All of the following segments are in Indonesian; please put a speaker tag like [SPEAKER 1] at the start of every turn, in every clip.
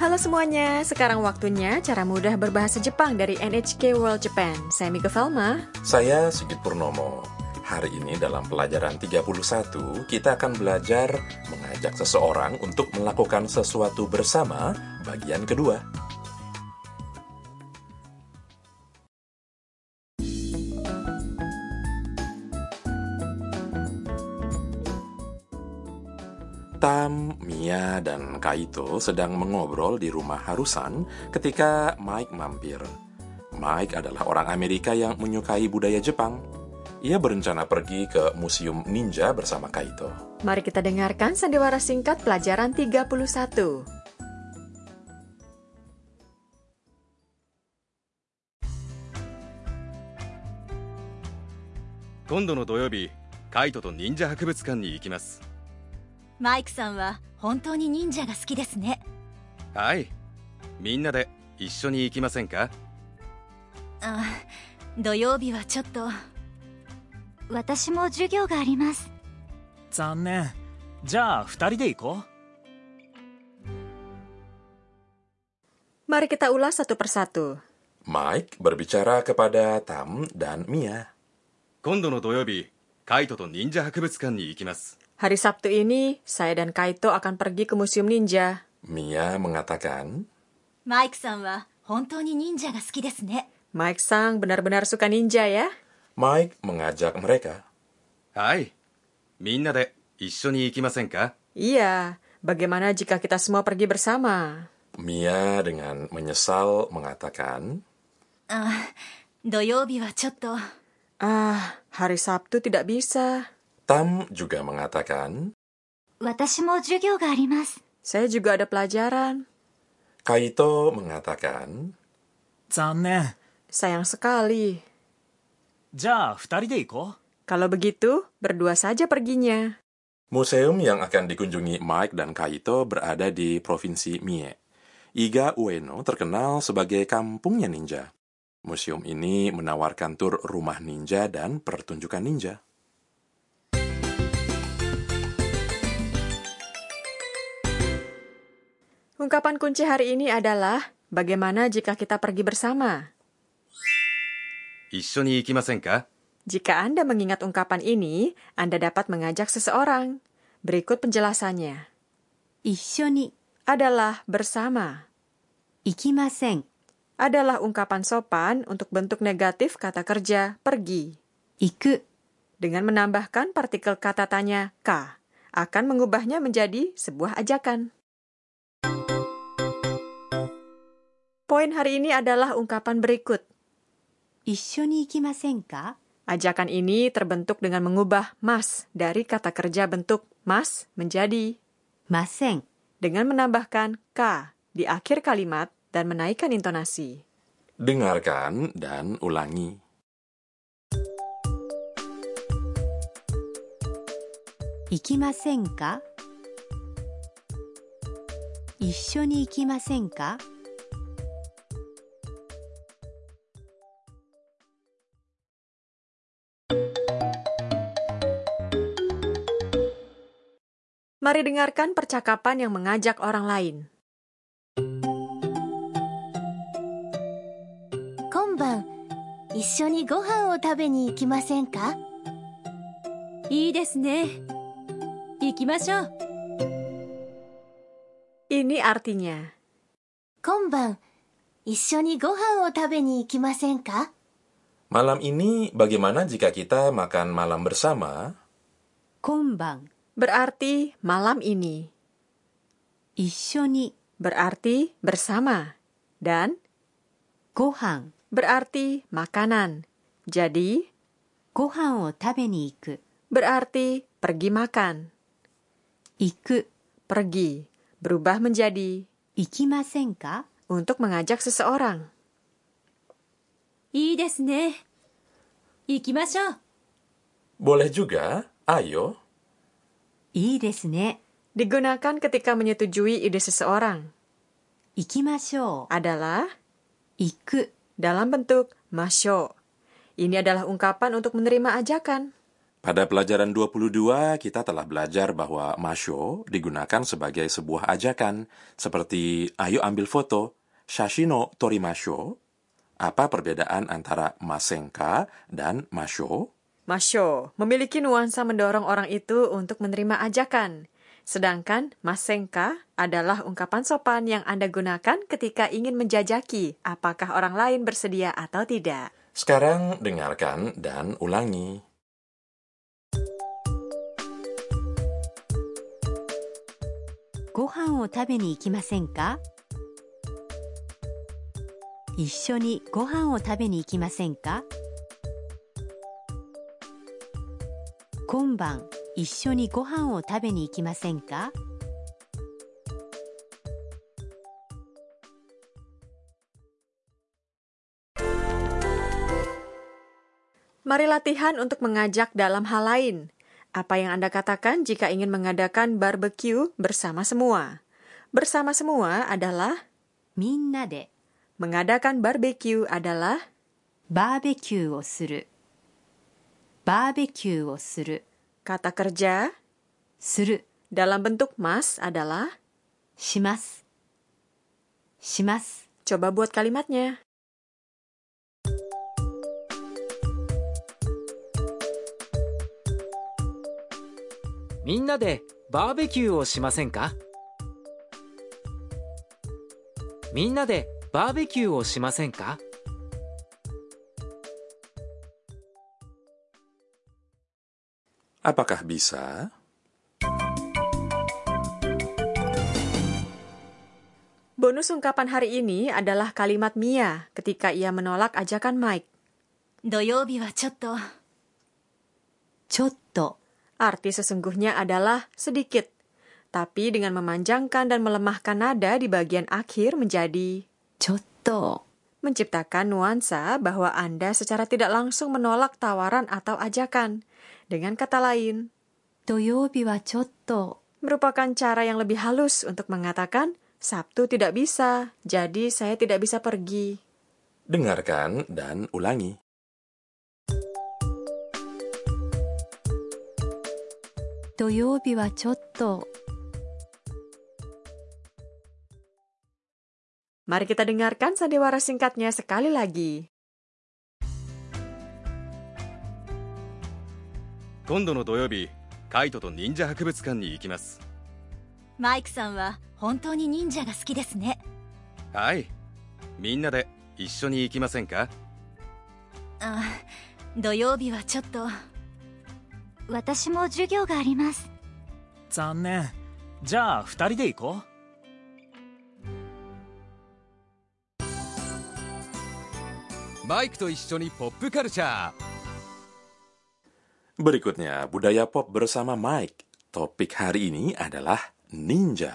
[SPEAKER 1] Halo semuanya, sekarang waktunya cara mudah berbahasa Jepang dari NHK World Japan. Saya Mika Velma.
[SPEAKER 2] Saya Sigit Purnomo. Hari ini dalam pelajaran 31, kita akan belajar mengajak seseorang untuk melakukan sesuatu bersama bagian kedua. Tam, Mia, dan Kaito sedang mengobrol di rumah Harusan ketika Mike mampir. Mike adalah orang Amerika yang menyukai budaya Jepang. Ia berencana pergi ke Museum Ninja bersama Kaito.
[SPEAKER 1] Mari kita dengarkan sandiwara singkat pelajaran 31.
[SPEAKER 3] 今度の土曜日カイトと忍者博物館に行きます
[SPEAKER 4] マイクさんは本当に忍者が好きですね
[SPEAKER 3] はいみんなで一緒に行きませんか
[SPEAKER 4] あ土曜日はちょっと私も授業があります
[SPEAKER 5] 残念じゃあ二人で行こ
[SPEAKER 1] Mari kita ulas satu persatu.
[SPEAKER 2] Mike berbicara kepada Tam dan Mia.
[SPEAKER 3] 今度の土曜日カイトと忍者博物館に行きます
[SPEAKER 1] Hari Sabtu ini, saya dan Kaito akan pergi ke Museum Ninja.
[SPEAKER 2] Mia mengatakan,
[SPEAKER 4] マイクさんは本当に忍者が好きですね
[SPEAKER 1] Mike Sang benar-benar suka ninja ya.
[SPEAKER 2] Mike mengajak mereka.
[SPEAKER 3] はいみんなで一緒に行きませんか
[SPEAKER 1] Iya, bagaimana jika kita semua pergi bersama?
[SPEAKER 2] Mia dengan menyesal mengatakan,
[SPEAKER 4] あ土曜日はちょっと
[SPEAKER 1] Ah, hari Sabtu tidak bisa.
[SPEAKER 2] Tam juga mengatakan,
[SPEAKER 4] 私も授業があります
[SPEAKER 1] Saya juga ada pelajaran.
[SPEAKER 2] Kaito mengatakan,
[SPEAKER 5] う残念
[SPEAKER 1] Sayang sekali.
[SPEAKER 5] じゃあ二人で行こ
[SPEAKER 1] Kalau begitu, berdua saja perginya.
[SPEAKER 2] Museum yang akan dikunjungi Mike dan Kaito berada di Provinsi Mie. Iga Ueno terkenal sebagai kampungnya ninja. Museum ini menawarkan tur rumah ninja dan pertunjukan ninja.
[SPEAKER 1] Ungkapan kunci hari ini adalah bagaimana jika kita pergi bersama.
[SPEAKER 3] 一緒に行きませんか
[SPEAKER 1] Jika Anda mengingat ungkapan ini, Anda dapat mengajak seseorang. Berikut penjelasannya.
[SPEAKER 4] 一緒に
[SPEAKER 1] Adalah bersama.
[SPEAKER 4] 行きません
[SPEAKER 1] Adalah ungkapan sopan untuk bentuk negatif kata kerja pergi.
[SPEAKER 4] 行く
[SPEAKER 1] Dengan menambahkan partikel kata tanya ka, akan mengubahnya menjadi sebuah ajakan. Poin hari ini adalah ungkapan berikut.
[SPEAKER 4] 一緒に行きませんか
[SPEAKER 1] Ajakan ini terbentuk dengan mengubah mas dari kata kerja bentuk mas menjadi
[SPEAKER 4] ません
[SPEAKER 1] dengan menambahkan k di akhir kalimat dan menaikkan intonasi.
[SPEAKER 2] Dengarkan dan ulangi.
[SPEAKER 4] 行きませんか一緒に行きませんか
[SPEAKER 1] Mari dengarkan percakapan yang mengajak orang lain.
[SPEAKER 6] 今晩一緒にご飯を食べに行きませんか
[SPEAKER 4] いいですね行きましょう
[SPEAKER 1] Ini artinya,
[SPEAKER 6] 今晩一緒にご飯を食べに行きませんか
[SPEAKER 2] Malam ini bagaimana jika kita makan malam bersama?
[SPEAKER 4] 今晩
[SPEAKER 1] berarti malam ini,
[SPEAKER 4] 一緒に
[SPEAKER 1] berarti bersama, dan
[SPEAKER 4] ご飯
[SPEAKER 1] berarti makanan. Jadi,
[SPEAKER 4] ご飯を食べに行く
[SPEAKER 1] berarti pergi makan,
[SPEAKER 4] 行く
[SPEAKER 1] pergi, berubah menjadi
[SPEAKER 4] 行きませんか
[SPEAKER 1] untuk mengajak seseorang.
[SPEAKER 4] いいですね行きましょう
[SPEAKER 2] Boleh juga, ayo.
[SPEAKER 4] いいですね
[SPEAKER 1] Digunakan ketika menyetujui ide seseorang
[SPEAKER 4] 行きましょう
[SPEAKER 1] adalah
[SPEAKER 4] 行く
[SPEAKER 1] dalam bentuk masyo. Ini adalah ungkapan untuk menerima ajakan.
[SPEAKER 2] Pada pelajaran 22, kita telah belajar bahwa masho digunakan sebagai sebuah ajakan, seperti ayo ambil foto, shashino torimasho. Apa perbedaan antara masenka dan masho?
[SPEAKER 1] Masho memiliki nuansa mendorong orang itu untuk menerima ajakan. Sedangkan masenka adalah ungkapan sopan yang Anda gunakan ketika ingin menjajaki apakah orang lain bersedia atau tidak.
[SPEAKER 2] Sekarang dengarkan dan ulangi.
[SPEAKER 7] ご飯を食べに行きませんか一緒にご飯を食べに行きませんか今晩一緒にご飯を食べに行きませんか
[SPEAKER 1] Mari latihan untuk mengajak dalam hal lain. Apa yang Anda katakan jika ingin mengadakan barbeque bersama semua? Bersama semua adalah
[SPEAKER 7] みんなで
[SPEAKER 1] mengadakan barbeque adalah
[SPEAKER 7] バーベキューをするバーベキューをする
[SPEAKER 1] kata kerja
[SPEAKER 7] する
[SPEAKER 1] dalam bentuk mas adalah
[SPEAKER 7] しますします
[SPEAKER 1] coba buat kalimatnya.
[SPEAKER 8] みんなでバーベキューをしませんかみんなでバーベキューをしませんか
[SPEAKER 2] Apakah bisa?
[SPEAKER 1] Bonus ungkapan hari ini adalah kalimat Mia ketika ia menolak ajakan Mike.
[SPEAKER 4] 土曜日はちょっと
[SPEAKER 7] ちょっと
[SPEAKER 1] Arti sesungguhnya adalah sedikit, tapi dengan memanjangkan dan melemahkan nada di bagian akhir menjadi
[SPEAKER 7] ちょっと
[SPEAKER 1] menciptakan nuansa bahwa Anda secara tidak langsung menolak tawaran atau ajakan. Dengan kata lain,
[SPEAKER 7] 土曜日はちょっと
[SPEAKER 1] merupakan cara yang lebih halus untuk mengatakan Sabtu tidak bisa, jadi saya tidak bisa pergi.
[SPEAKER 2] Dengarkan dan ulangi.
[SPEAKER 7] 土曜日はちょっと
[SPEAKER 1] Mari kita dengarkan sandiwara singkatnya sekali lagi.
[SPEAKER 3] 今度の土曜日カイトと忍者博物館に行きます
[SPEAKER 4] マイクさんは本当に忍者が好きですね
[SPEAKER 3] はいみんなで一緒に行きませんか
[SPEAKER 4] あ土曜日はちょっと私も授業があります
[SPEAKER 5] 残念じゃあ二人で行こう
[SPEAKER 9] マイクと一緒にポップカルチャー
[SPEAKER 2] Berikutnya, budaya pop bersama Mike. Topik hari ini adalah ninja.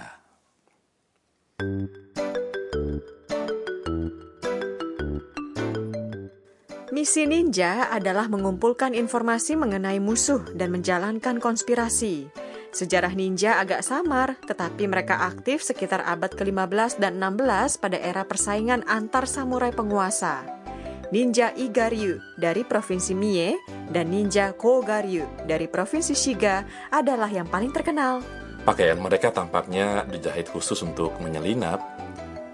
[SPEAKER 1] Misi ninja adalah mengumpulkan informasi mengenai musuh dan menjalankan konspirasi. Sejarah ninja agak samar, tetapi mereka aktif sekitar abad ke-15 dan 16 pada era persaingan antar samurai penguasa. Ninja Igaryu dari provinsi Mie dan Ninja Kogaryu dari provinsi Shiga adalah yang paling terkenal.
[SPEAKER 2] Pakaian mereka tampaknya dijahit khusus untuk menyelinap.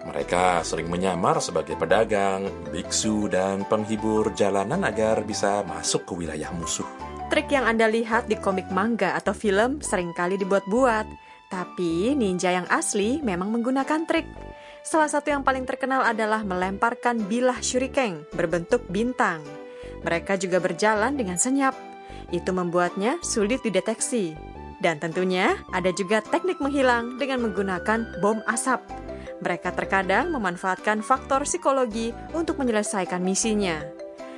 [SPEAKER 2] Mereka sering menyamar sebagai pedagang, biksu, dan penghibur jalanan agar bisa masuk ke wilayah musuh.
[SPEAKER 1] Trik yang Anda lihat di komik manga atau film seringkali dibuat-buat, tapi ninja yang asli memang menggunakan trik. Salah satu yang paling terkenal adalah melemparkan bilah shuriken berbentuk bintang. Mereka juga berjalan dengan senyap. Itu membuatnya sulit dideteksi. Dan tentunya ada juga teknik menghilang dengan menggunakan bom asap. Mereka terkadang memanfaatkan faktor psikologi untuk menyelesaikan misinya.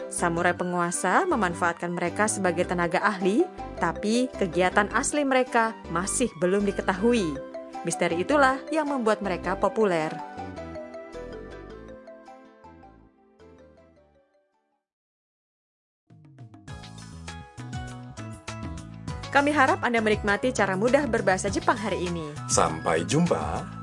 [SPEAKER 1] Samurai penguasa memanfaatkan mereka sebagai tenaga ahli, tapi kegiatan asli mereka masih belum diketahui. Misteri itulah yang membuat mereka populer. Kami harap Anda menikmati cara mudah berbahasa Jepang hari ini.
[SPEAKER 2] Sampai jumpa!